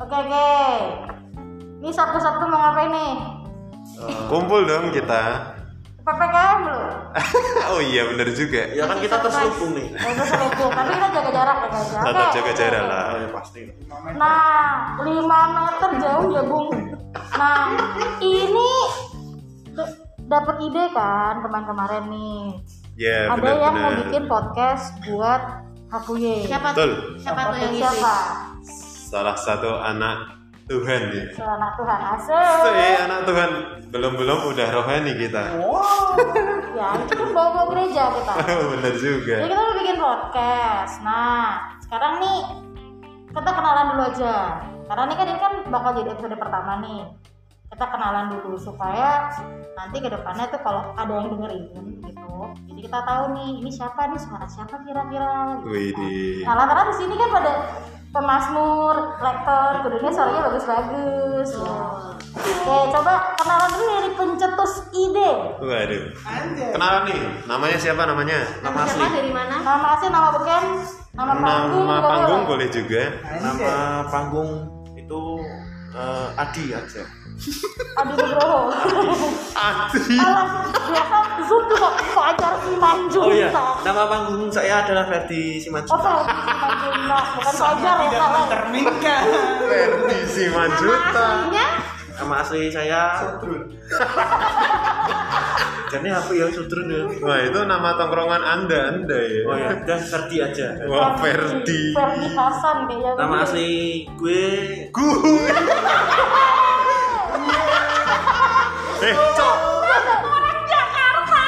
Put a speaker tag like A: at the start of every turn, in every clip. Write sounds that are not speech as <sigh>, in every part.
A: Oke oke. Ini satu-satu mau ngapain nih?
B: Kumpul dong kita. <laughs>
A: PPKM belum?
B: oh iya bener juga.
C: Ya kan kita terselubung nih.
A: Ya udah selingkuh, tapi kita jaga jarak ya guys. ya. Oke.
B: Tetap jaga jarak lah.
C: Ah, ya pasti.
A: Nah, 5 meter jauh ya Bung. Nah, ini d- dapat ide kan kemarin-kemarin nih.
B: Ya
A: Ada yang mau
B: benar-benar.
A: bikin podcast buat Hakuye.
D: Siapa
B: Betul.
D: Siapa tuh yang ngisi?
A: siapa?
B: Salah satu anak Tuhan ya.
A: Anak Tuhan
B: Itu
A: asal.
B: ya anak Tuhan. Belum-belum udah rohani kita. <laughs>
A: Ya, itu kan bawa-bawa gereja kita.
C: <laughs>
B: Oh, bener
A: Jadi
B: juga.
A: kita udah bikin podcast. Nah, sekarang nih kita kenalan dulu aja. Karena ini kan ini kan bakal jadi episode pertama nih. Kita kenalan dulu supaya nanti ke depannya tuh kalau ada yang dengerin gitu. Jadi kita tahu nih ini siapa nih suara siapa kira-kira. Gitu.
B: Widih.
A: Nah, lantaran di sini kan pada pemasmur, lektor, kudunya suaranya bagus-bagus. ya.
B: Iya.
A: Oke, coba kenalan dulu dari pencetus ide.
B: Waduh. Kenalan nih. Namanya siapa namanya?
D: Nama siapa dari mana?
A: Nama asli, nama beken, nama panggung,
B: Nama
A: juga
B: panggung
A: boleh.
B: boleh juga.
C: Nama panggung itu eh, Adi aja.
A: Aduh Nugroho.
B: Adi.
A: Alas, biasa Zoom tuh kok kok acara si Manjunta.
C: Oh iya, nama panggung saya adalah Ferdi
A: Oh,
C: Simanjunta.
A: sorry, si Manjunta, bukan Fajar ya salah.
C: Oh,
E: terminkan
B: Ferdi Simanjuta.
D: Aslinya?
C: Nama asli saya Sudrun. <laughs> Jadi apa ya Sudrun ya?
B: Wah itu nama tongkrongan anda anda ya.
C: Oh ya, udah Ferdi aja.
B: Wah Ferdi.
A: Ferdi Hasan ya. kayaknya.
C: Nama asli gue
B: Gue. eh cok.
A: Orang Jakarta.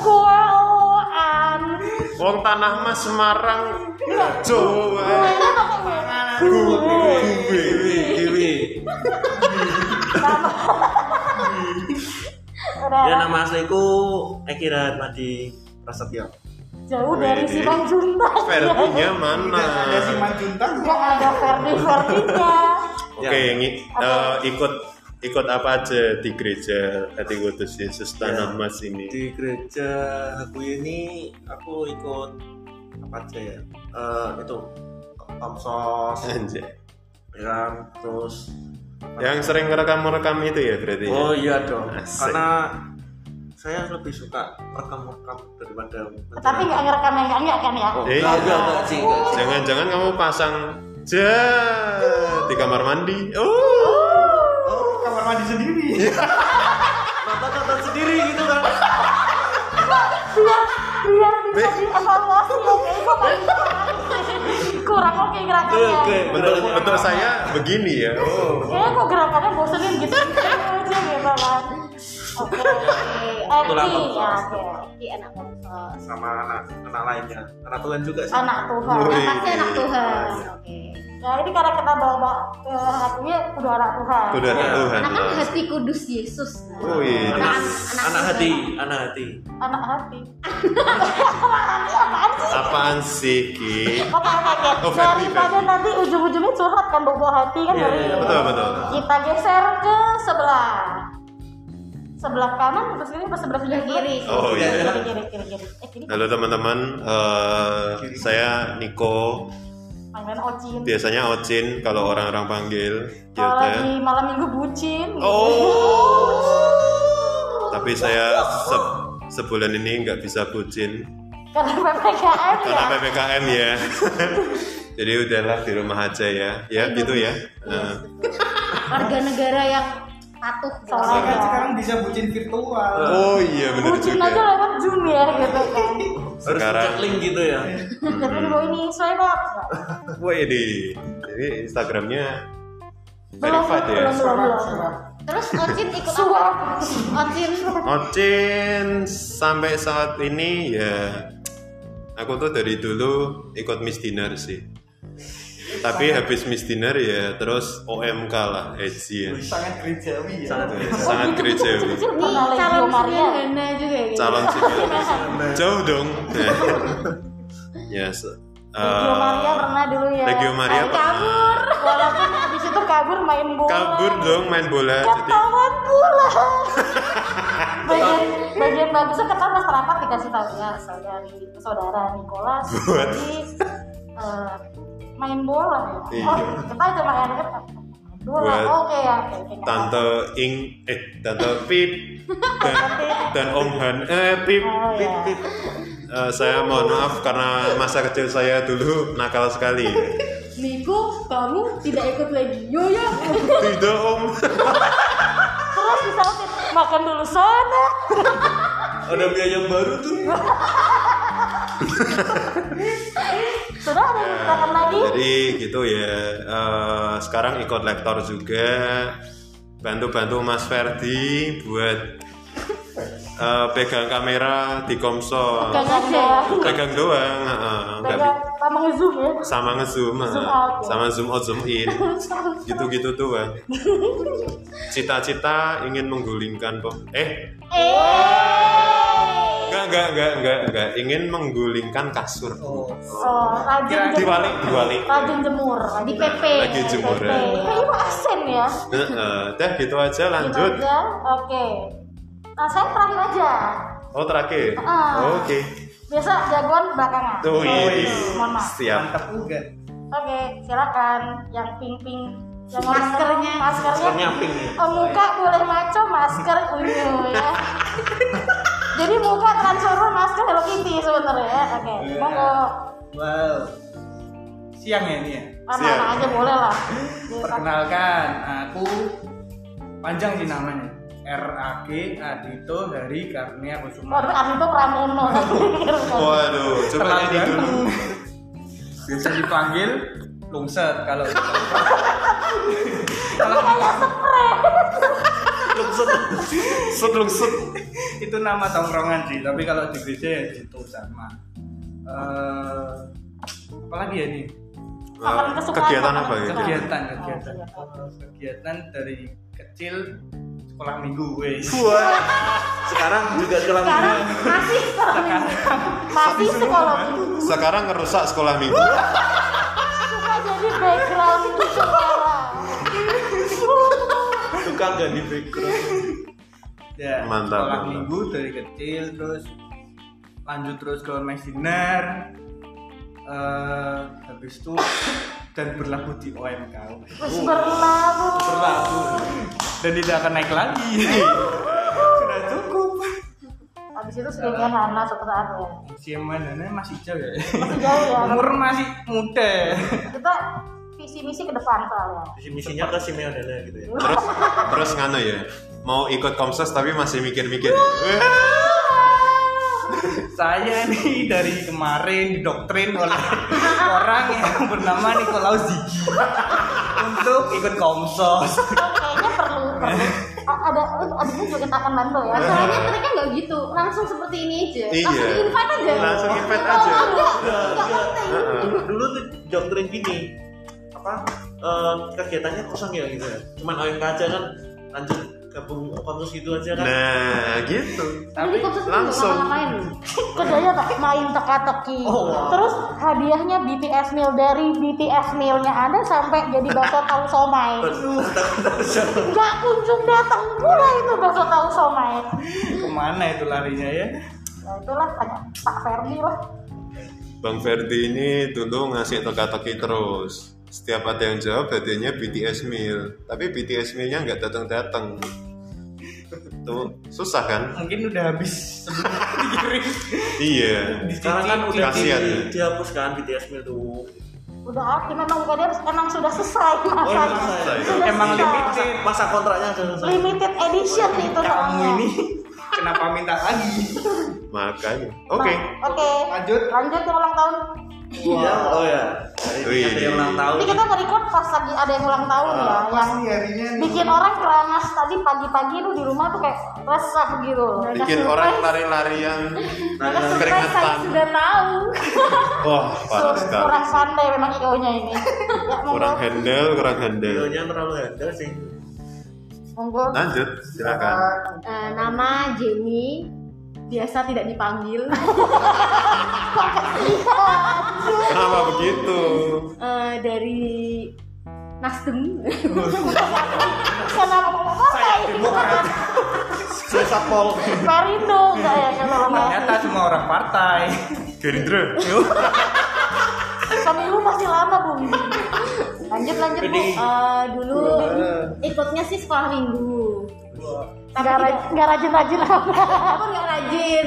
A: Gua Oan.
B: Wong tanah mas Semarang. Jawa.
A: Ini pakai W.
B: Gue.
C: Dewi Dewi.
A: Udah,
C: Ya nama asliku Eki Rahmadi Prasetyo.
A: Jauh dari si Manjunta.
B: Ferdinya mana?
E: ada si Manjunta
A: Gak ada Ferdi Ferdinya.
C: Ya.
B: Oke, ngi- eh, ikut ikut apa aja di gereja Hati Kudus Yesus Tanah
C: Ya.
B: Mas ini?
C: di gereja aku ini aku ikut apa aja ya Eh, itu komsos
B: Anjay.
C: ya terus
B: Eh. Yang sering ngerekam-ngerekam itu ya berarti. ya?
C: oh iya dong
B: Asik.
C: karena saya lebih suka rekam-rekam daripada
A: Tapi gak ngerekam yang enggak kan ya?
C: oh,
B: Eh,
C: enggak, enggak, enggak, sih, enggak.
B: Jangan-jangan kamu pasang jet di kamar mandi. Oh.
E: oh kamar mandi sendiri
C: <laughs> nonton-nonton sendiri gitu kan
A: biar biar bisa dievaluasi oke kok kurang oke gerakannya
C: Iya, Oke, oke.
B: Bentuk bentuk saya begini ya. Oh.
A: kayaknya kok gerakannya bosenin gitu aja gitu kan oke
C: Itulah
A: Eki
C: kompas.
A: ya oke
D: Di anak kompas.
C: sama anak anak lainnya anak Tuhan juga sih
A: anak Tuhan
C: Iya.
B: Wih.
D: Pasti anak
B: iya.
D: Tuhan. Oke.
A: ya ini karena kita bawa ke hatinya udah anak Tuhan
B: Udah
C: Ya.
B: ada Tuhan.
D: Karena kan hati kudus Yesus.
B: Oh, iya.
D: Anak,
C: anak,
D: anak,
C: anak hati anak hati
A: anak hati anak hati apaan sih
B: Apaan sih Ki?
A: Oke oke oke.
B: Oh, Ferdi,
A: Daripada
B: Ferdi.
A: nanti ujung-ujungnya curhat kan bawa hati kan
C: Iya,
A: dari
C: iya,
B: betul, betul.
A: Kita geser ke sebelah sebelah kanan terus ini apa sebelah
D: Sebelah kiri.
B: Oh
A: Kiri
B: iya.
A: kiri kiri kiri. Eh kiri
B: Halo teman-teman, Eh, saya Niko.
A: panggilan Ocin.
B: Biasanya Ocin kalau orang-orang panggil.
A: Kalau
B: gitu ya.
A: lagi malam minggu bucin. gitu.
B: Oh. Tapi saya se- sebulan ini nggak bisa bucin
A: Karena ppkm ya.
B: karena ppkm ya. <laughs> Jadi udahlah di rumah aja ya. Ya
A: Iya,
B: gitu ya. Eh,
D: Iya. Warga negara yang patuh.
A: Seorang
B: Iya.
E: kan sekarang bisa bucin virtual
C: Eh,
B: oh iya bener
A: bucin
B: juga.
A: aja lewat zoom ya gitu kan.
C: harus
B: Sekarang-
C: cek link gitu ya
B: Hmm.
A: Tapi gue ini swipe up. ya.
B: Wih di. Jadi Instagramnya
A: Belum
B: verified
A: belum
B: ya.
A: belum belum.
D: Terus Ocin ikut apa?
A: Suap.
D: Ocin
B: Ocin sampai saat ini ya aku tuh dari dulu ikut Miss Dinner sih. Tapi habis Miss Dinner ya terus OMK lah Ejian.
E: sangat gerejawi ya
C: sangat
B: Sangat gerejawi.
A: Kecil
D: ini
A: pernah
D: calon
A: Legio Maria.
D: sederhana juga ya.
B: Calon sipil. Jauh dong. <laughs> Nah. Ya. se-
A: Legio
B: eh,
A: Maria pernah dulu ya.
B: Legio Maria
A: Tapi
B: pernah.
A: kabur. Walaupun habis itu kabur main bola.
B: Kabur dong main bola. Jadi
A: ketahuan
B: <laughs>
A: pula bagian bagian bagusnya kita pas rapat dikasih tahu ya saudari saudara Nicholas
B: Buat.
A: jadi eh, main bola ya.
B: Iya.
A: Oh, kita cuma main main bola.
B: Buat
A: Oke ya, oke. oke, nggak apa-apa.
B: Tante Ing eh Tante Pip dan, dan Om Han eh Pip
A: Oh
B: Pip,
A: ya.
B: Pip. Eh, saya mohon maaf karena masa kecil saya dulu nakal sekali.
D: Niko, kamu tidak ikut lagi. Yo ya.
B: Tidak Om.
A: Terus disautin makan dulu sana.
C: Ada biaya yang baru tuh.
A: Sudah ada
B: Iya.
A: yang makan lagi.
B: Jadi gitu ya. Eh, sekarang ikut lektor juga. Bantu-bantu Mas Ferdi buat eh, pegang kamera di Komsol.
A: Pegang aja.
B: Iya. Pegang doang. heeh. Nggak bi-
A: Pegang sama ngezoom ya.
B: sama ngezoom
A: Zoom
B: ah.
A: out ya.
B: sama zoom out zoom in gitu-gitu tuh Bang.
A: <laughs>
B: cita-cita ingin menggulingkan pem- eh
A: Eh.
B: enggak enggak enggak enggak enggak ingin menggulingkan kasur
E: Oh.
A: Oh, rajin
E: Kira-
A: jemur.
B: diwalik diwalik
A: Rajin jemur.
D: Di
A: Rajin
D: PP.
B: Lagi
D: ya.
B: jemuran.
A: PP. Kayak asen ya.
B: Heeh, dah Eh, gitu aja
A: Gitu
B: lanjut
A: aja. Oke. Nah, saya terakhir aja.
B: oh terakhir
A: Ah.
B: oke
A: Biasa jagoan belakangan.
B: tuh ini
E: iya.
A: Mohon maaf.
C: Ya.
B: siap
E: Mantap juga.
A: Oke, silakan yang pink-pink yang
D: Maskernya.
A: orang- maskernya,
C: Maskernya pink ya?
A: Eh, muka boleh maco masker unyu ya. Jadi muka transfer masker Hello Kitty sebenarnya. ya. Oke,
E: Iya.
A: monggo
E: Wow. Siang ya ini ya.
A: anak-anak
B: Siap.
A: aja boleh lah.
E: Perkenalkan, aku panjang sih namanya. RAG Adito dari Karnia
A: Wah,
E: Kusuma.
A: abis itu Pramono.
B: waduh coba
E: Terlalu
B: ini dulu
E: ganteng. Biasa dipanggil lungset kalau
C: <laughs>
E: kalau
C: Lungsut. Sut lungsut.
E: itu nama tongkrongan sih, tapi kalau di gereja ya gitu sama. Eh apalagi ya ini?
A: Makan
B: Eh,
A: kesukaan,
B: kegiatan
A: makan
B: apa ya
A: kesukaan.
E: kegiatan
A: Oh,
E: kegiatan
A: kegiatan.
E: kegiatan dari kecil sekolah minggu wes
C: Wah. Sekarang juga kelam
A: Sekarang masih sekolah minggu. Masih sekolah minggu.
B: sekarang ngerusak sekolah minggu
A: Suka Ah, jadi background sekolah.
C: tukang ganti background.
E: ya
B: Mantap,
E: sekolah
B: mantap.
E: minggu dari kecil terus lanjut terus ke mes dinner Eh, habis itu dan berlaku di OMK
A: Wis berlabuh.
E: berlaku dan tidak akan naik
C: <laughs>
E: lagi sudah cukup
A: Habis itu sedikit Hana suatu saat ya.
E: usia mananya masih jauh ya
A: Masih jauh ya.
E: umur masih muda
A: Kita visi misi ke depan soalnya.
C: Visi misinya ke Simeo Dana gitu ya.
B: terus terus ngano ya mau ikut komses tapi masih mikir-mikir Eh,
E: saya nih dari kemarin didoktrin oleh <laughs> orang yang bernama Nikolaus Zigi untuk ikut komsos
A: Oh, kayaknya perlu
E: <laughs>
A: perlu. A- ada abis itu juga kita akan bantu
E: Iya.
A: ya.
D: Soalnya mereka nggak gitu, langsung seperti ini aja.
B: Iya.
D: Langsung invite aja.
B: Langsung invite
D: Kalau
B: aja.
D: enggak, enggak penting.
C: Dulu, dulu tuh doktrin gini apa eh, kegiatannya kosong ya gitu ya. Cuman OMK aja kan lanjut gabung kampus gitu aja kan.
B: nah gitu
D: Tapi
E: tapi
D: kursus
B: langsung.
D: langsung ngapain?
A: Kerjanya tak main teka-teki.
E: Oh, wow.
A: Terus hadiahnya BTS meal dari BTS mealnya ada sampai jadi bakso tahu somai. Gak kunjung datang pula itu bakso tahu somai.
E: kemana itu larinya ya
A: Ya itulah tanya Pak Ferdi lah.
B: Bang Ferdi ini dulu ngasih teka-teki terus. Setiap ada yang jawab hadiahnya BTS meal. Tapi BTS meal-nya nggak datang-datang. Tuh, susah kan?
E: mungkin udah habis sebelum dikirim
B: Iya.
C: Sekarang kan udah di,
B: Kasihan.
C: dihapus kan BTS Mil tuh.
A: Udah akhir memang bukan dia emang sudah selesai
C: Oh, iya,
A: masanya.
C: selesai.
A: Sudah
E: Emang
A: selesai.
E: limit
C: Masa, masa kontraknya aja selesai.
A: limited edition itu
E: kamu
A: soalnya.
E: ini kenapa minta lagi
B: Makanya.
A: Nah,
B: Oke.
A: Oke.
E: lanjut
A: Lanjut yang ulang tahun.
C: Iya, oh ya.
B: Wih.
C: Ada yang ulang tahun.
A: Ini kita nge-record pas lagi ada yang ulang tahun ya, yang
E: pasti harinya nih
A: bikin orang keramas tadi pagi-pagi lu di rumah tuh kayak resah gitu.
B: Bikin orang lari-larian.
A: Mereka surprise saya
B: Keringetan.
A: sudah tahu.
B: Wah, parah
A: Sur-
B: sekali.
A: Kurang pandai memang IO-nya ini. Ya, monggo,
B: Kurang handle, kurang handle.
C: Videonya terlalu handal sih.
A: monggo.
B: Lanjut, silakan.
D: Eh, nama Jenny biasa tidak
A: <laughs>
D: dipanggil.
B: Kenapa begitu?
D: Eh, dari Nasdem.
A: Kenapa mau
E: saya
A: pakai? <laughs>
E: demokrat
C: Saya sapol.
A: Perindo enggak ya kalau
E: ternyata semua orang partai
B: Gerindra.
A: Suamimu masih lama, Bung. Lanjut lanjut, Bu.
C: Pedih.
D: Eh, dulu
E: Wah.
D: ikutnya sih sekolah minggu tapi
A: Nggak
D: tidak,
A: raj- nggak rajin-rajin apa.
D: aku nggak rajin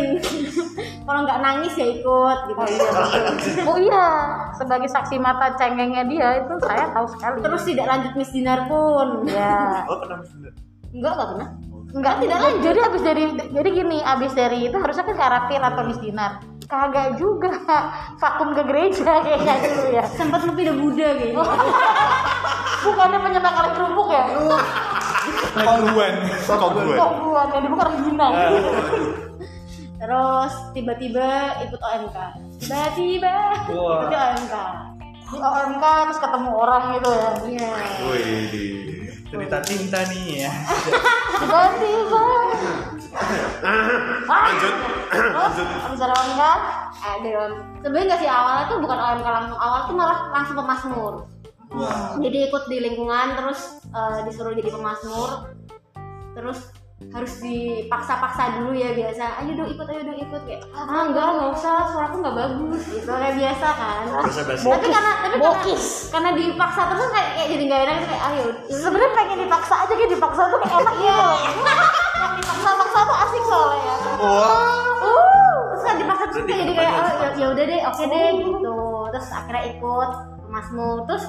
D: <laughs> kalau nggak nangis ya ikut gitu
A: Oh iya, betul. Oh iya, sebagai saksi mata cengengnya dia itu saya tahu sekali.
D: terus tidak lanjut miss dinner pun
A: ya.
C: Oh, pernah misalnya.
D: enggak nggak pernah
A: Enggak tidak lah. Jadi abis dari jadi gini, abis dari itu harusnya kan karapil atau misdinar. Kagak juga. Vakum ke gereja kayaknya dulu ya.
D: sempat lebih udah Buddha gitu
A: <laughs> Bukannya penyembah kali kerupuk ya?
E: Kongguan.
B: Kongguan.
A: Kok gua yang dibuka rejina.
D: terus tiba-tiba ikut OMK tiba-tiba
E: Wah.
D: ikut OMK
A: Di OMK terus ketemu orang gitu ya.
D: iya
B: Wih.
E: Cerita cinta nih ya.
A: Tiba-tiba.
B: Lanjut. Lanjut.
A: Abis dari OMK,
D: Eh, ada om- sebenarnya nggak sih awalnya tuh bukan OMK langsung awal tuh malah langsung pemasmur
E: Wah.
D: jadi ikut di lingkungan terus eh, disuruh jadi pemasmur terus harus dipaksa-paksa dulu ya biasa ayo dong ikut ayo dong ikut kayak ah enggak nggak usah suaraku nggak bagus gitu kayak biasa kan
C: Bahasa basi.
D: tapi karena tapi karena-
A: Bokis.
D: karena, dipaksa terus kan kayak, kayak jadi nggak enak gitu, kayak ayo
A: sebenarnya pengen dipaksa aja kayak dipaksa tuh kayak enak gitu. loh.
D: Iya.
A: Yang dipaksa-paksa tuh asik soalnya ya.
D: uh terus kan dipaksa terus
C: Berarti
D: kayak jadi kayak
C: banyak
D: oh, ya- ya udah deh oke deh gitu terus akhirnya ikut masmu terus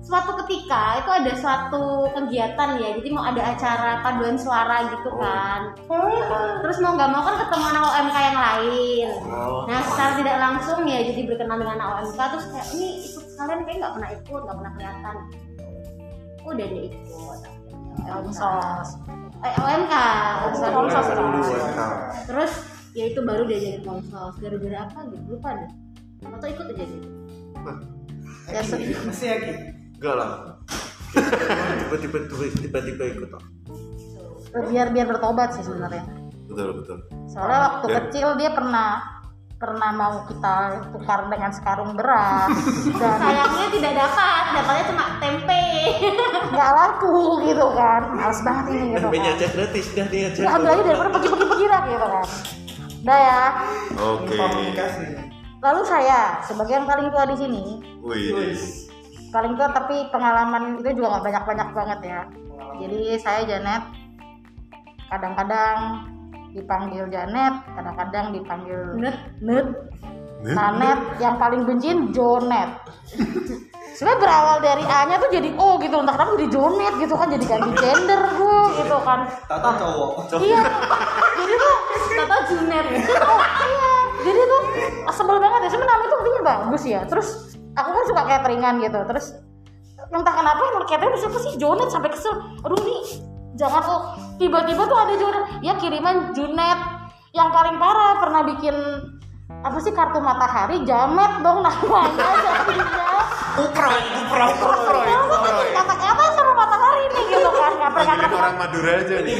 D: suatu ketika itu ada suatu kegiatan ya jadi mau ada acara paduan suara gitu kan terus mau nggak mau kan ketemu anak OMK yang lain
C: Oh.
D: nah secara tidak langsung ya jadi berkenalan dengan anak OMK terus kayak ini ikut sekalian kayak nggak pernah ikut nggak pernah kelihatan udah deh ikut
A: Omsos.
D: eh, OMK
A: Omsos
C: Dulu,
A: kan.
C: kan.
D: terus ya itu baru diajarin konsos gara-gara apa gitu lupa deh atau ikut aja gitu
A: Ya sedih.
E: Masih ya Ki?
C: Enggak lah. Tiba-tiba tiba-tiba ikut. toh.
A: biar biar bertobat sih sebenarnya
B: Betul betul.
A: soalnya waktu
B: Dan-
A: kecil dia pernah pernah mau kita tukar dengan sekarung beras dan
D: sayangnya tidak dapat dapatnya cuma tempe
A: nggak laku gitu kan males banget ini gitu
C: Dan
A: kan
C: aja gratis dah dia aja.
A: ya ambil aja daripada pergi-pergi-pergi lah gitu kan udah ya
B: Oke.
E: Komunikasi.
A: lalu saya sebagai yang paling tua di sini
B: Wih.
A: paling tua tapi pengalaman itu juga nggak banyak-banyak banget ya jadi saya Janet kadang-kadang dipanggil Janet kadang-kadang dipanggil
D: Net.
A: Net
B: Net.
A: Nanet yang paling benci Jonet sebenarnya berawal dari A nya tuh jadi O gitu entah kenapa jadi Jonet gitu kan jadi ganti gender gue gitu kan
E: Tata cowok.
A: iya jadi tuh
D: atau junet
A: oh, iya jadi tuh sebel banget ya sebenarnya nama itu artinya bagus ya terus aku kan suka cateringan gitu terus entah kenapa yang catering siapa sih Jonet sampai kesel aduh nih jangan oh tiba-tiba tuh ada Jonet ya kiriman Junet yang paling parah pernah bikin apa sih kartu matahari jamet dong namanya <laughs> jadinya
C: Kuproy, kuproy.
A: Sekarang gue kasih kata-kata sama matahari nih gitu kan
B: Panggilin
A: Ngapain-ngapain
B: orang Madura aja nih.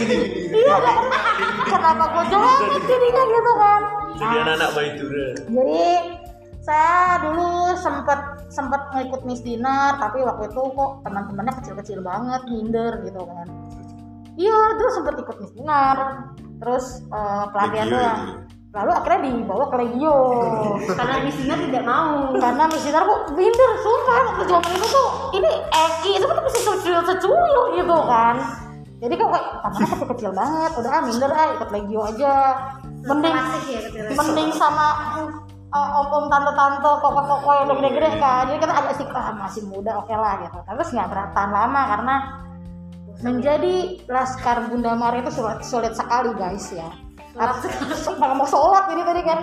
A: Iya gak kena Kenapa gue jomet jadinya gitu kan
C: Jadi anak-anak Madura.
A: Jadi saya dulu sempet sempet ngikut Miss Dinar tapi waktu itu kok teman-temannya kecil-kecil banget minder gitu kan iya terus sempet ikut Miss Dinar terus eh, pelatihan
B: Legio
A: doang
B: itu. ya?
A: lalu akhirnya dibawa ke Legio
B: <laughs>
D: karena misinya tidak mau
A: karena Miss Dinar kok minder sumpah waktu zaman itu tuh ini Eki itu kan masih secuil-secuil gitu kan jadi kok kayak tangannya kecil-kecil banget udah ah minder ah ikut Legio aja mending
D: Masih ya kebetulan.
A: mending sama uh, om-om tante-tante koko-koko yang udah gede-gede kan jadi kita agak sih ah, masih muda oke lah gitu terus nggak beratan lama karena menjadi laskar Bunda Mari itu sulit, sulit sekali guys ya <laughs> Nggak mau sholat ini tadi kan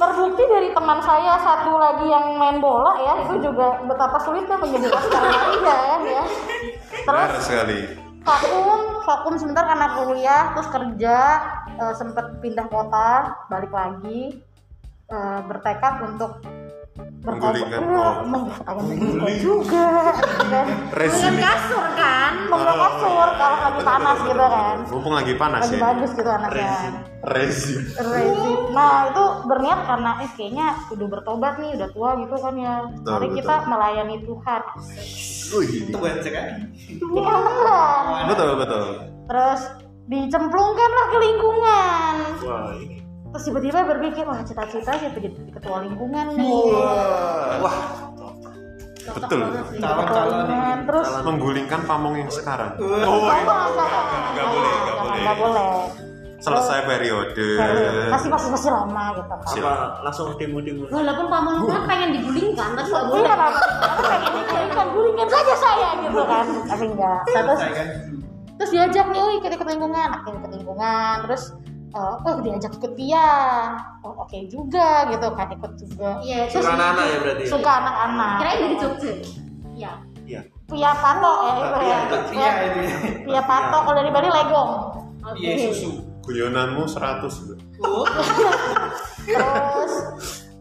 A: Terbukti dari teman saya satu lagi yang main bola ya Itu juga betapa sulitnya menjadi laskar Maria ya Terus
B: Benar sekali.
A: vakum vakum sebentar karena kuliah terus kerja eh, sempet pindah kota balik lagi eh, bertekad untuk berkorban
B: Menggulingkan,
A: Iya,
B: oh.
A: menggunakan juga dan
D: dengan
B: Resmi.
D: kasur kan
A: membawa kasur kalau lagi panas gitu kan
B: Oh, iya. Mumpung lagi panas
A: lagi
B: ya.
A: bagus gitu anaknya
C: Rezim.
B: Rezim.
A: Resi. Nah itu berniat karena eh kayaknya udah bertobat nih udah tua gitu kan ya.
B: Betul,
A: Mari
B: betul.
A: kita melayani Tuhan.
E: Itu
B: Wih.
E: bukan cek kan?
A: Ini kan beneran.
B: Betul betul.
A: Terus dicemplungkan lah ke lingkungan.
C: Wah, ini
A: terus tiba-tiba berpikir wah cita-cita sih jadi ketua lingkungan nih
B: Wah,
C: Wah,
A: Cocok
B: betul.
A: banget sih,
E: Calon-calon
A: ketua
E: ini,
A: lingkungan. Nah, terus
B: menggulingkan pamong yang sekarang.
A: Oh,
B: Oh,
A: enggak, enggak,
B: Enggak boleh, enggak
A: Jangan,
B: boleh.
A: enggak boleh.
B: selesai periode. Iya.
A: Masih masih masih lama gitu kan.
B: Siap.
C: apa langsung timbul-timbul
D: Walaupun pamong itu kan pengen digulingkan, tapi nggak boleh.
A: Iya kan, aku pengen digulingkan, gulingkan saja saya gitu kan Tapi enggak Terus,
E: Saya kan
A: terus diajak nih, oh ikut ikut lingkungan Aku ikut lingkungan, terus eh, oh diajak ikut dia Oh oke juga gitu kan, ikut juga
D: Iya, terus
C: Suka anak-anak ya
E: iya.
C: berarti. ya?
A: Suka anak-anak
D: kirain dari Jogja. Iya.
C: Iya.
A: Pia Pato, eh
C: Iya,
A: Pia-
E: iya
A: Pia-
E: ini.
A: Pia Pato, kalau dari Bali Legong
D: Oke.
E: Iya susu.
B: Guyonanmu 100 loh.
E: Oh,
A: terus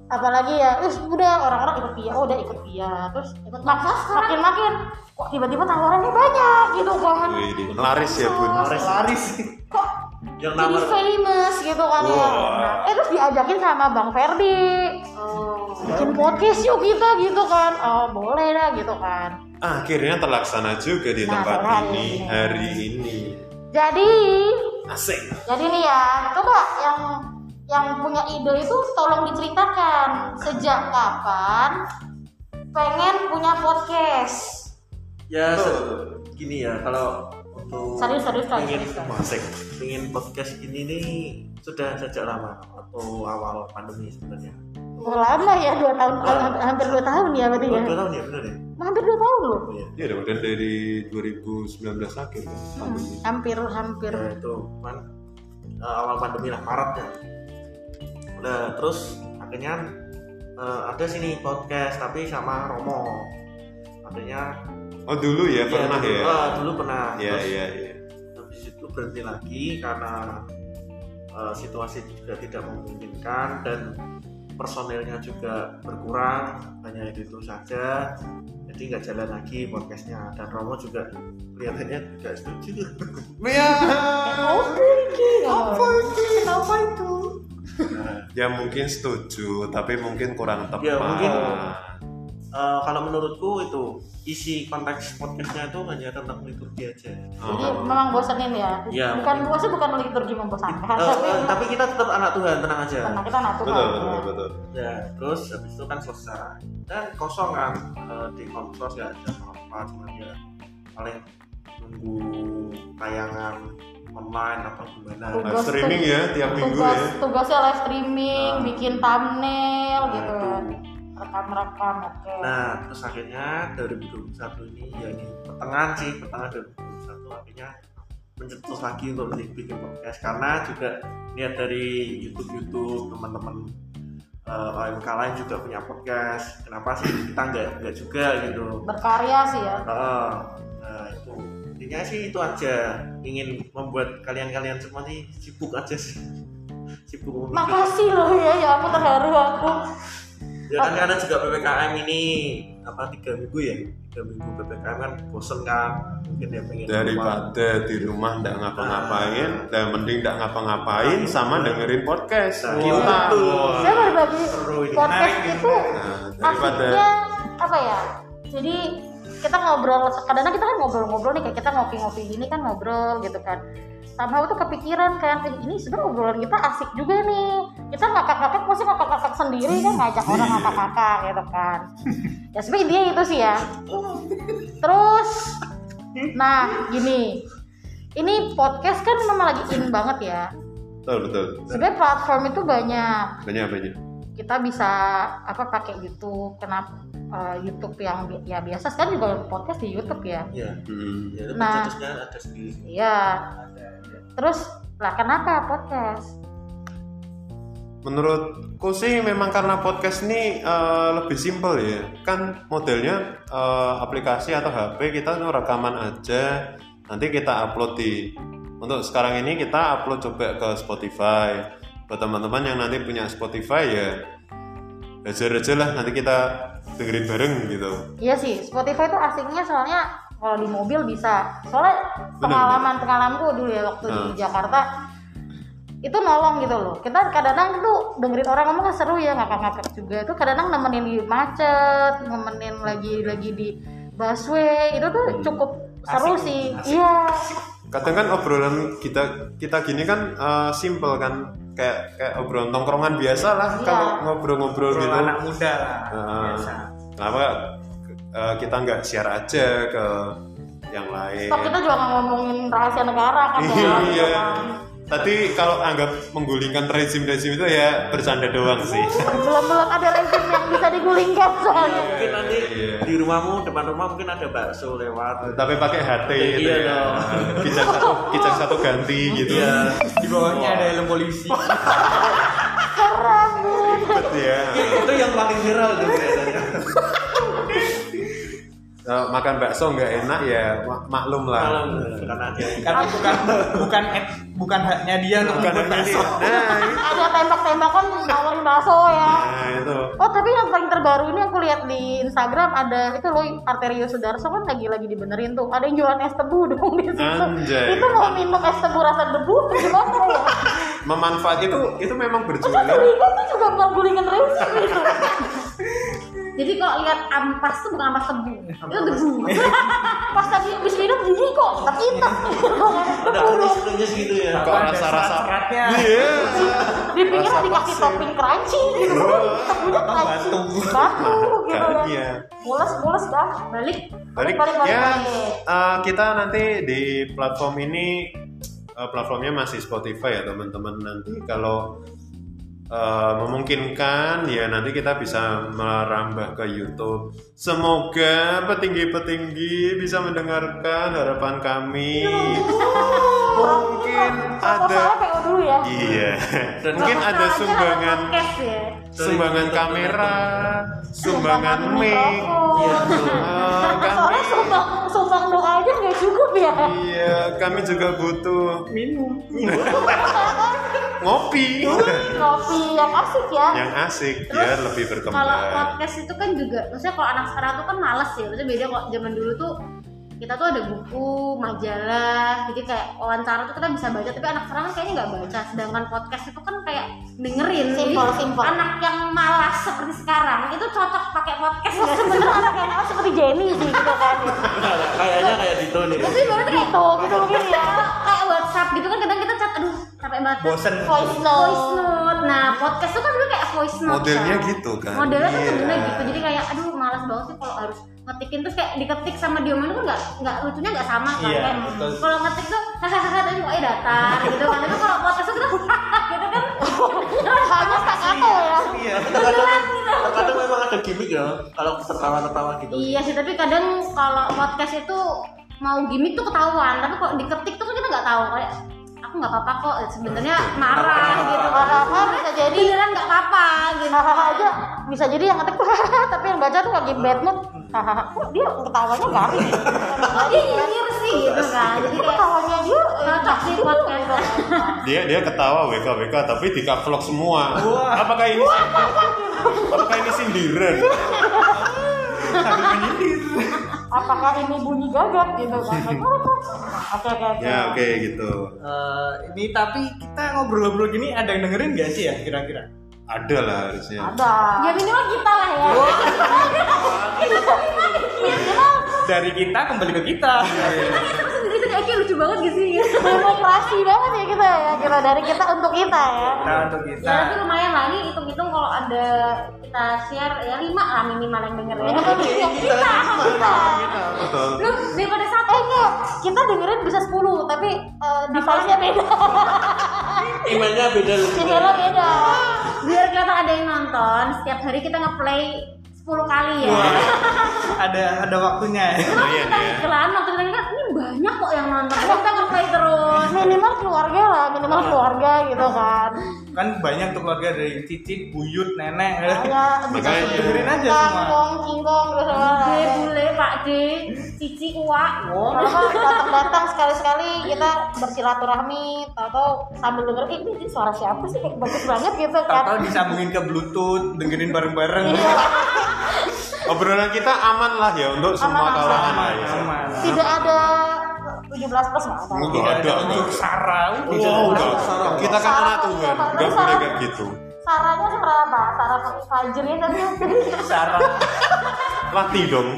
A: apalagi ya terus udah orang-orang ikut dia oh udah ikut dia terus ikut maksa makin makin kok tiba-tiba tawarannya banyak gitu kan
B: Wih, laris ya bun.
C: Laris.
E: laris.
A: kok
C: Yang
A: jadi
C: nomor
A: famous gitu kan ya
B: Wah.
A: Nah, eh terus diajakin sama bang Ferdi
C: Oh.
A: bikin podcast yuk kita gitu kan oh boleh dah gitu kan
B: Akhirnya terlaksana juga di
A: Nah,
B: tempat
A: hari
B: ini
A: ini.
B: hari ini.
A: jadi
B: Asik.
A: jadi nih ya coba yang yang punya ide itu tolong diceritakan sejak kapan pengen punya podcast
C: ya se- gini ya kalau untuk
A: Serius, serius, Kak.
C: ingin
A: Serius, Kak.
B: Asik.
C: ingin podcast ini nih sudah sejak lama waktu awal pandemi sebenarnya.
A: Wah, lama ya dua tahun ha- hampir dua tahun ya berarti
C: Oh,
A: ya
C: dua tahun ya benar ya.
A: hampir dua tahun loh
C: Oh, ya.
B: Ya udah udah dari 2019 akhir kan. pandemi.
A: hampir hampir
C: Nah, itu kan eh, awal pandemi lah Maret ya. Udah terus akhirnya eh, ada sini podcast tapi sama Romo. Akhirnya
B: Oh dulu
A: Iya,
B: ya pernah
C: dulu,
B: ya.
C: eh,
A: Ah.
C: dulu pernah.
B: Iya
C: Terus
B: iya iya.
C: habis itu berhenti lagi karena eh, situasi juga tidak memungkinkan dan personelnya juga berkurang hanya itu saja jadi nggak jalan lagi podcastnya dan Romo juga kelihatannya nggak setuju
E: Ya.
A: apa itu apa itu
C: Nah,
B: Ya mungkin setuju, tapi mungkin kurang tepat. Ah.
C: Ya, mungkin. eh, kalau menurutku itu isi konteks podcastnya itu hanya tentang liturgi aja
A: jadi
B: Oh.
A: memang bosenin ya
C: Iya.
A: bukan bosan bukan liturgi membosankan
C: Eh,
A: tapi
C: eh, tapi kita tetap anak Tuhan tenang aja
A: karena kita anak Tuhan
B: Betul betul betul.
C: ya terus habis itu kan selesai dan kosong kan eh, di komsos ya ada apa cuma ya paling nunggu tayangan online apa gimana
A: Tunggu.
B: Live streaming ya tiap minggu
A: tugas
B: ya.
A: tugasnya live streaming
C: Nah.
A: bikin thumbnail
C: Nah,
A: gitu
C: itu.
A: rekam-rekam oke
C: nah terus akhirnya 2021 ini ya di pertengahan sih pertengahan 2021 akhirnya mencetus lagi untuk bikin bikin podcast karena juga lihat dari YouTube YouTube teman-teman eh, OMK lain juga punya podcast kenapa sih kita nggak nggak juga gitu
A: berkarya sih ya
C: Heeh. nah itu intinya sih itu aja ingin membuat kalian-kalian semua sih sibuk aja sih <laughs> sibuk memikir.
A: makasih loh ya ya aku terharu aku
C: ya kan karena juga ppkm ini apa tiga minggu ya tiga minggu ppkm kan bosen kan mungkin ya pengen keluar.
B: daripada di rumah ndak ngapa-ngapain dan mending ndak ngapa-ngapain sama dengerin podcast
C: Nah,
B: kita
C: gitu.
B: Wah.
A: saya berbagi
C: seru ini
A: podcast
E: Menarik,
A: itu
B: Nah, daripada
A: akhirnya apa ya jadi kita ngobrol kadang-kadang kita kan ngobrol-ngobrol nih kayak kita ngopi-ngopi gini kan ngobrol gitu kan sama tuh kepikiran kan "Eh, ini sebenarnya obrolan kita asik juga nih kita ngakak-ngakak masih ngakak-ngakak sendiri kan ngajak orang ngakak-ngakak gitu kan ya sebenarnya intinya itu sih ya terus nah gini ini podcast kan memang lagi in banget ya
B: betul betul
A: sebenarnya platform itu banyak
B: banyak banyak
A: kita bisa apa pakai YouTube kenapa eh, YouTube yang bi- ya biasa sekarang juga podcast di YouTube ya
C: ya
B: Hmm.
C: ya itu
A: Nah.
C: pencetusnya ada sendiri
A: iya
C: ada ya.
A: terus lah kenapa podcast
B: menurutku sih memang karena podcast ini eh, lebih simpel ya kan modelnya eh, aplikasi atau HP kita tuh rekaman aja nanti kita upload di untuk sekarang ini kita upload coba ke Spotify buat teman-teman yang nanti punya Spotify ya aja-aja lah nanti kita dengerin bareng gitu
A: iya sih Spotify itu asiknya soalnya kalau di mobil bisa soalnya pengalaman pengalamanku dulu ya waktu di
B: Hmm.
A: Jakarta itu nolong gitu loh kita kadang-kadang tuh dengerin orang ngomong kan seru ya ngakak-ngakak juga itu kadang-kadang nemenin di macet nemenin lagi lagi di busway itu tuh cukup seru sih iya
B: kadang kan obrolan kita kita gini kan eh, simple kan kayak kayak obrolan tongkrongan biasa lah
A: Iya.
B: kalau ngobrol-ngobrol
E: Obrolan
B: gitu
E: anak muda lah
C: Iya,
B: Heeh.
E: biasa.
B: Ah. kenapa eh, kita nggak share aja ke yang lain <laughs>
A: Stop Kan kita juga nggak ngomongin rahasia negara kan ya.
B: iya tadi kalau anggap menggulingkan rezim-rezim itu ya bercanda doang sih
A: <laughs> Belum belum ada rezim yang bisa digulingkan soalnya.
C: mungkin nanti
B: Iya.
C: di rumahmu depan rumah mungkin ada bakso lewat
B: tapi pakai HT gitu
C: Iya
B: ya <laughs>
C: dong.
B: kijang satu kijang satu ganti gitu
C: Iya.
B: <laughs>
E: Di bawahnya ada helm polisi.
B: ribet ya
C: itu yang paling viral tuh kelihatannya
B: Eh, makan bakso nggak enak ya mak- maklum
C: malam
B: lah
C: karena dia
E: Karena
A: Ah.
E: bukan bukan bukan haknya dia untuk
B: bukan
E: membuat
B: enak
E: bakso.
B: nah
A: Ada tembak-tembakan nawarin bakso ya.
B: Nah itu
A: Oh tapi yang paling terbaru ini aku lihat di Instagram ada itu loh Arterio Sudarso kan lagi lagi dibenerin tuh ada yang jualan es tebu dong di situ.
B: Anjay.
A: Itu mau minum es tebu rasa debu apa gimana ya?
B: memanfaat itu itu memang
A: Masa
B: berjualan.
A: curiga tuh juga nggak gulingan rezim itu.
D: Jadi kalau lihat ampas tuh bukan ampas tebu, itu debu.
A: Pas tadi habis minum gini kok tetap
C: ada kunyus-kunyus gitu ya
B: Kok
E: Ada
B: rasa-rasa
E: serat-seratnya.
B: Iya.
A: <laughs> Dipikir
B: Rasa
A: dikasih
B: pasir.
A: topping crunchy gitu. Tebunya crunchy. Batu gitu
B: Kan,
A: loh.
B: iya.
A: Mules mules dah. Balik.
B: Balik,
A: balik balik.
B: ya
A: balik.
B: eh, kita nanti di platform ini eh, platformnya masih Spotify ya teman-teman nanti kalau eh, memungkinkan ya nanti kita bisa merambah ke YouTube. Semoga petinggi-petinggi bisa mendengarkan harapan kami. Mungkin ada
A: Proposal PO dulu ya.
B: Iya.
C: Dan-
B: Mungkin ada
D: Masalahnya
B: sumbangan
D: podcast ya.
B: sumbangan kamera, sumbangan mic.
A: mikrofon.
C: Iya, betul.
B: Eh,
A: Soalnya
B: kami,
A: sumbang, sumbang doa aja nggak cukup ya.
B: iya, kami juga butuh
E: Minum.
B: ngopi
A: Ngopi yang asik ya.
B: yang asik biar lebih
D: Kalau
B: berkembang.
D: podcast itu kan juga, maksudnya kalau anak sekarang tuh kan males ya. Maksudnya beda kok zaman dulu tuh kita tuh ada buku, majalah, jadi kayak wawancara tuh kita bisa baca, tapi anak sekarang kan kayaknya nggak baca. Sedangkan podcast itu kan kayak dengerin. Jadi
A: Simpel, simpel.
D: Anak yang malas seperti sekarang itu cocok pakai podcast. ya. nggak sih?
A: Sebenernya anak yang asik seperti Jenny sih gitu kan.
C: kayaknya kayak Dito nih
D: Tapi berarti kayak
A: Gitu, gitu mungkin ya.
D: kayak WhatsApp gitu kan kadang kita chat, aduh capek banget.
E: Bosen.
A: Voice
D: voice
A: note.
D: note. Nah, podcast tuh kan sebenarnya kayak voice note.
B: Modelnya
D: kan.
B: gitu kan.
D: Modelnya tuh
B: Iya.
D: sebenarnya gitu. Jadi kayak aduh malas banget sih kalau harus ngetikin terus kayak diketik sama diomelin tuh kan nggak nggak lucunya nggak sama kan.
E: Iya,
D: Kayak
E: betul.
D: Kalau ngetik tuh hahaha tadi pokoknya datar gitu kan. Tapi kalau podcast tuh <laughs> kita gitu kan.
B: Iya,
A: Hanya tak kata ya.
C: iya terkadang terkadang memang ada gimmick ya kalau tertawa-tertawa gitu
D: iya sih, tapi kadang kalau podcast itu mau gimmick tuh ketahuan, tapi kalau diketik tuh kan kita nggak tahu kayak aku nggak apa-apa kok sebenarnya marah gitu
A: Karena bisa jadi
D: beneran nggak apa-apa gitu
A: hahaha aja bisa jadi yang ngetik <laughs> tapi yang baca tuh lagi bad mood hahaha kok dia ketawanya garing ya?
D: oh dia nyinyir sih gitu kan jadi
A: Kok
D: kayak
A: ketawanya dia eh,
D: cocok sih gitu. podcast
B: Dia dia ketawa WK WK tapi di vlog semua. Apakah ini Apakah ini sindiran?
E: Sambil menyindir.
A: apakah ini bunyi gagap
B: <laughs>
A: gitu kan oke oke oke
B: Ya oke gitu.
E: Eh, ini tapi kita ngobrol-ngobrol gini ada yang dengerin gak sih ya kira-kira?
B: Ada lah harusnya.
A: ada
D: ya minimal kita lah ya
E: Dari kita kembali ke kita. iya.
D: terus sendiri tuh kayak lucu banget gitu sih
A: demokrasi banget ya kita ya
D: gitu.
A: kita dari kita untuk kita ya
E: Kita untuk
D: ya
E: kita.
D: tapi lumayan lah ini hitung-hitung kalau ada kita share ya lima lah minimal yang denger ya
A: kita kita
B: Betul.
D: lu daripada satu
A: eh enggak kita dengerin bisa 10 tapi eh, device-nya beda
C: emailnya beda lucu
A: channelnya beda
D: biar kelihatan ada yang nonton setiap hari kita ngeplay 10 kali ya
E: Iya. Ada ada waktunya.
B: Lumayan
D: kita
B: ya.
D: iklan waktu kita iklan ini banyak kok yang nonton kita ngeplay terus
A: minimal keluarga lah minimal
E: Iya.
A: keluarga gitu kan
E: Kan banyak tuh keluarga dari cicit, buyut, nenek.
D: Iya.
E: <laughs>
A: ya bisa
B: Makanya.
E: Dengerin aja semua.
A: kangkong kingkong gitu semua
D: Bule,
A: lah.
D: bule, Pak D, Cici, Uak.
A: Kenapa datang-datang sekali-sekali kita bersilaturahmi, tahu-tahu sambil denger "Ih, ini suara siapa sih kayak bagus banget gitu
E: Tahu-tahu
A: kan.
E: disambungin ke Bluetooth, dengerin bareng-bareng.
A: Iya,
B: Obrolan kita aman lah ya untuk semua
A: Aman,
B: kalangan.
E: Aman,
B: ya.
E: aman.
A: tidak ada 17 plus nggak ada.
B: Enggak
E: Tidak
B: ada.
E: ada unsur sara.
B: Oh, enggak. Kita kan
A: Salah,
B: anak Tuhan,
A: salah.
B: enggak boleh kayak gitu.
A: Saranya seberapa? Sara Fajri tadi.
E: Sara.
D: Iya.
B: Latih dong.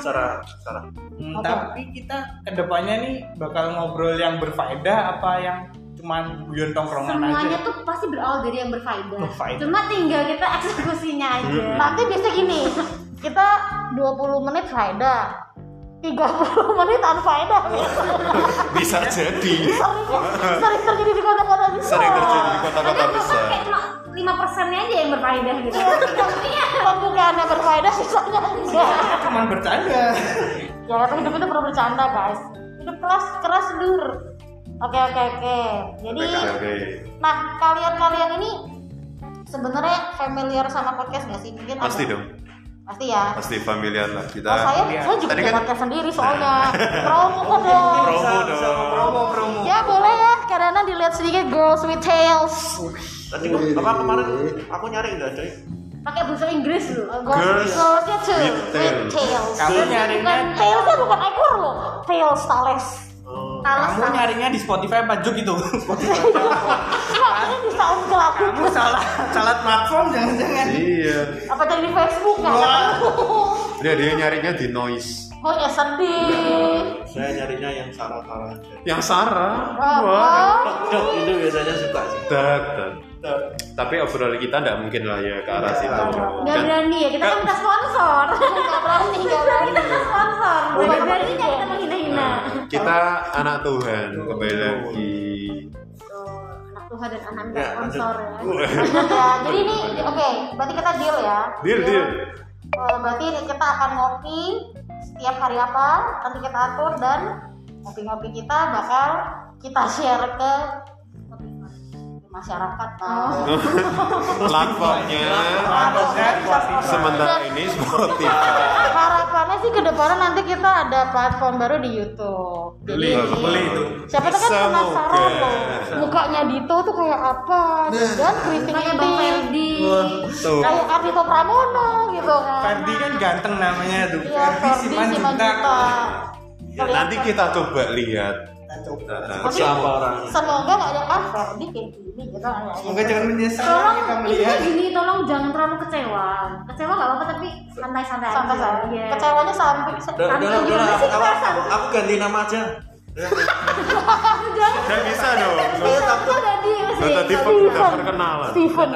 C: secara secara
E: Nah, Hmm, tapi kita kedepannya nih bakal ngobrol yang berfaedah apa yang cuman guyon tongkrongan
D: semuanya
E: aja
D: tuh pasti berawal dari yang berfaedah.
E: Berfaedah.
D: Cuma tinggal kita <laughs> eksekusinya aja.
A: nanti biasanya gini kita 20 menit faedah <laughs> 30 menit unfaedah
B: bisa jadi
A: sering sering terjadi di kota-kota besar
B: sering terjadi di kota-kota
D: Kadang
B: besar
D: kan Kayak cuma lima persennya aja yang berfaedah gitu.
A: <laughs>
D: Iya.
A: pembukaannya berfaedah sisanya enggak
E: cuman bercanda
A: ya tapi hidup itu perlu bercanda guys hidup keras keras dur oke oke oke jadi
B: oke oke
A: nah kalian kalian ini sebenarnya familiar sama podcast nggak sih mungkin ada-
B: pasti dong
A: pasti ya
B: pasti familiar lah kita
A: Oh, saya
E: Iya.
A: saya juga
B: Tadi
A: punya
B: kan-
A: podcast sendiri
B: <laughs>
A: soalnya promo kok dong
B: Promo
E: Bisa- bisa
B: dong.
E: promo promo
D: Iya,
A: ya boleh ya karena dilihat sedikit girls with tails
C: Tadi kok apa kemarin aku nyari nggak coy?
D: Pakai bahasa Inggris loh.
A: girls, girlsnya tuh
B: with
A: with eh,
B: tails.
A: tails
E: kamu nyarinya
A: bukan tailsnya bukan ekor loh tails tales
C: Oh,
D: Talas
E: kamu nyarinya di Spotify apa Juk itu <laughs> Spotify.
A: ini di SoundCloud
E: kamu salah salah platform jangan jangan
B: iya
A: apa tadi di Facebook nggak tahu
B: dia dia nyarinya di noise
A: Oh ya sedih.
C: saya nyarinya yang salah-salah aja.
B: yang Sarah wah
A: Apa?
C: Dok itu biasanya suka sih.
B: Dak, dak. tapi overall kita nggak mungkin lah ya ke arah situ
D: Gak
B: Kan-
D: berani ya, kita kan minta sponsor
A: Gak berani, gak
D: <laughs>
A: berani.
D: Kita minta sponsor
A: Bukan
D: Gak beraninya kita menghina-hina
B: Nah, kita anak Tuhan kembali lagi
D: Tuh, Anak Tuhan dan anak minta
C: Ya, lanjut.
D: sponsor ya
A: Ya, jadi ini oke, berarti kita deal ya.
B: deal <laughs> deal
A: Eh, berarti ini kita akan ngopi setiap hari apa? Nanti kita atur dan ngopi-ngopi kita bakal kita share ke masyarakat. Oh.
B: platformnya
E: Platformnya Spotify.
B: sementara ini Spotify
A: Harapannya sih ke depannya nanti kita ada platform baru di YouTube. Jadi
E: beli itu
A: Siapa tuh kan
B: Semoga.
A: penasaran loh mukanya Dito tuh kayak apa dan keriting
D: Kayak Nah. Bang Ferdi
B: tuh
A: kayak Ardito Pramono gitu kan
E: Ferdi kan ganteng namanya tuh
A: Iya,
E: Ferdi Iya,
A: Ferdi
E: Simanjuntak
A: Simanjunta.
B: Ya, nanti kita coba lihat
E: Kita coba.
B: Nah,
A: Tapi
C: Siapa orangnya?
A: Semoga gak ada ah Ferdi kayak gini gitu kan ya.
E: semoga jangan menyesal kita
D: Tolong, intinya
E: melihat
D: gini, tolong jangan terlalu kecewa Kecewa gak apa-apa tapi santai-santai aja
A: sampai saya
D: Iya.
A: kecewanya sampai se-
C: Dok,
D: Santai
C: dok, dok,
D: gimana sih
C: aku,
D: kita
C: aku,
D: santai?
C: aku ganti nama aja.
B: nggak bisa dong
D: Iya, aku udah diem
B: Lo
D: sih
B: tadi
A: Tapi
B: udah
A: bukan.
B: perkenalan
A: Steven.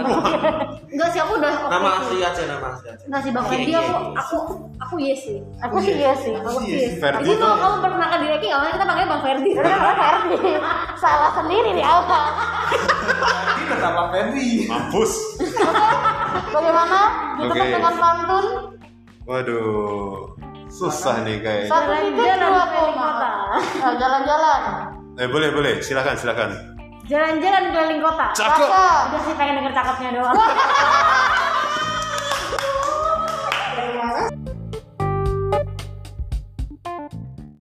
D: Enggak sih, aku udah
C: Nama asli aja, nama asli aja. Iya,
D: Enggak sih, Bang Ferdi aku, aku, aku yes sih
A: Aku sih iya sih.
D: Aku yes
B: Ferdi
D: Jadi kalau
B: tuh-
D: kamu perkenalkan diri lagi, gak apa-apa, kita panggilnya Bang <laughs> Ferdi
A: Jadi kan orang Ferdi salah sendiri di awal.
E: Ferdi tetap Pak Ferdi
B: mampus
A: Bagaimana? Ditutup
B: Oke.
A: dengan pantun.
B: waduh susah nih kayaknya
A: Satu titik
D: Jalan-jalan
A: dua
D: keliling
A: koma.
D: kota.
A: Nah, Jalan-jalan.
B: eh boleh boleh silakan silakan
D: Jalan-jalan keliling kota
B: Cakep.
A: Cakep.
D: Udah sih pengen denger cakepnya doang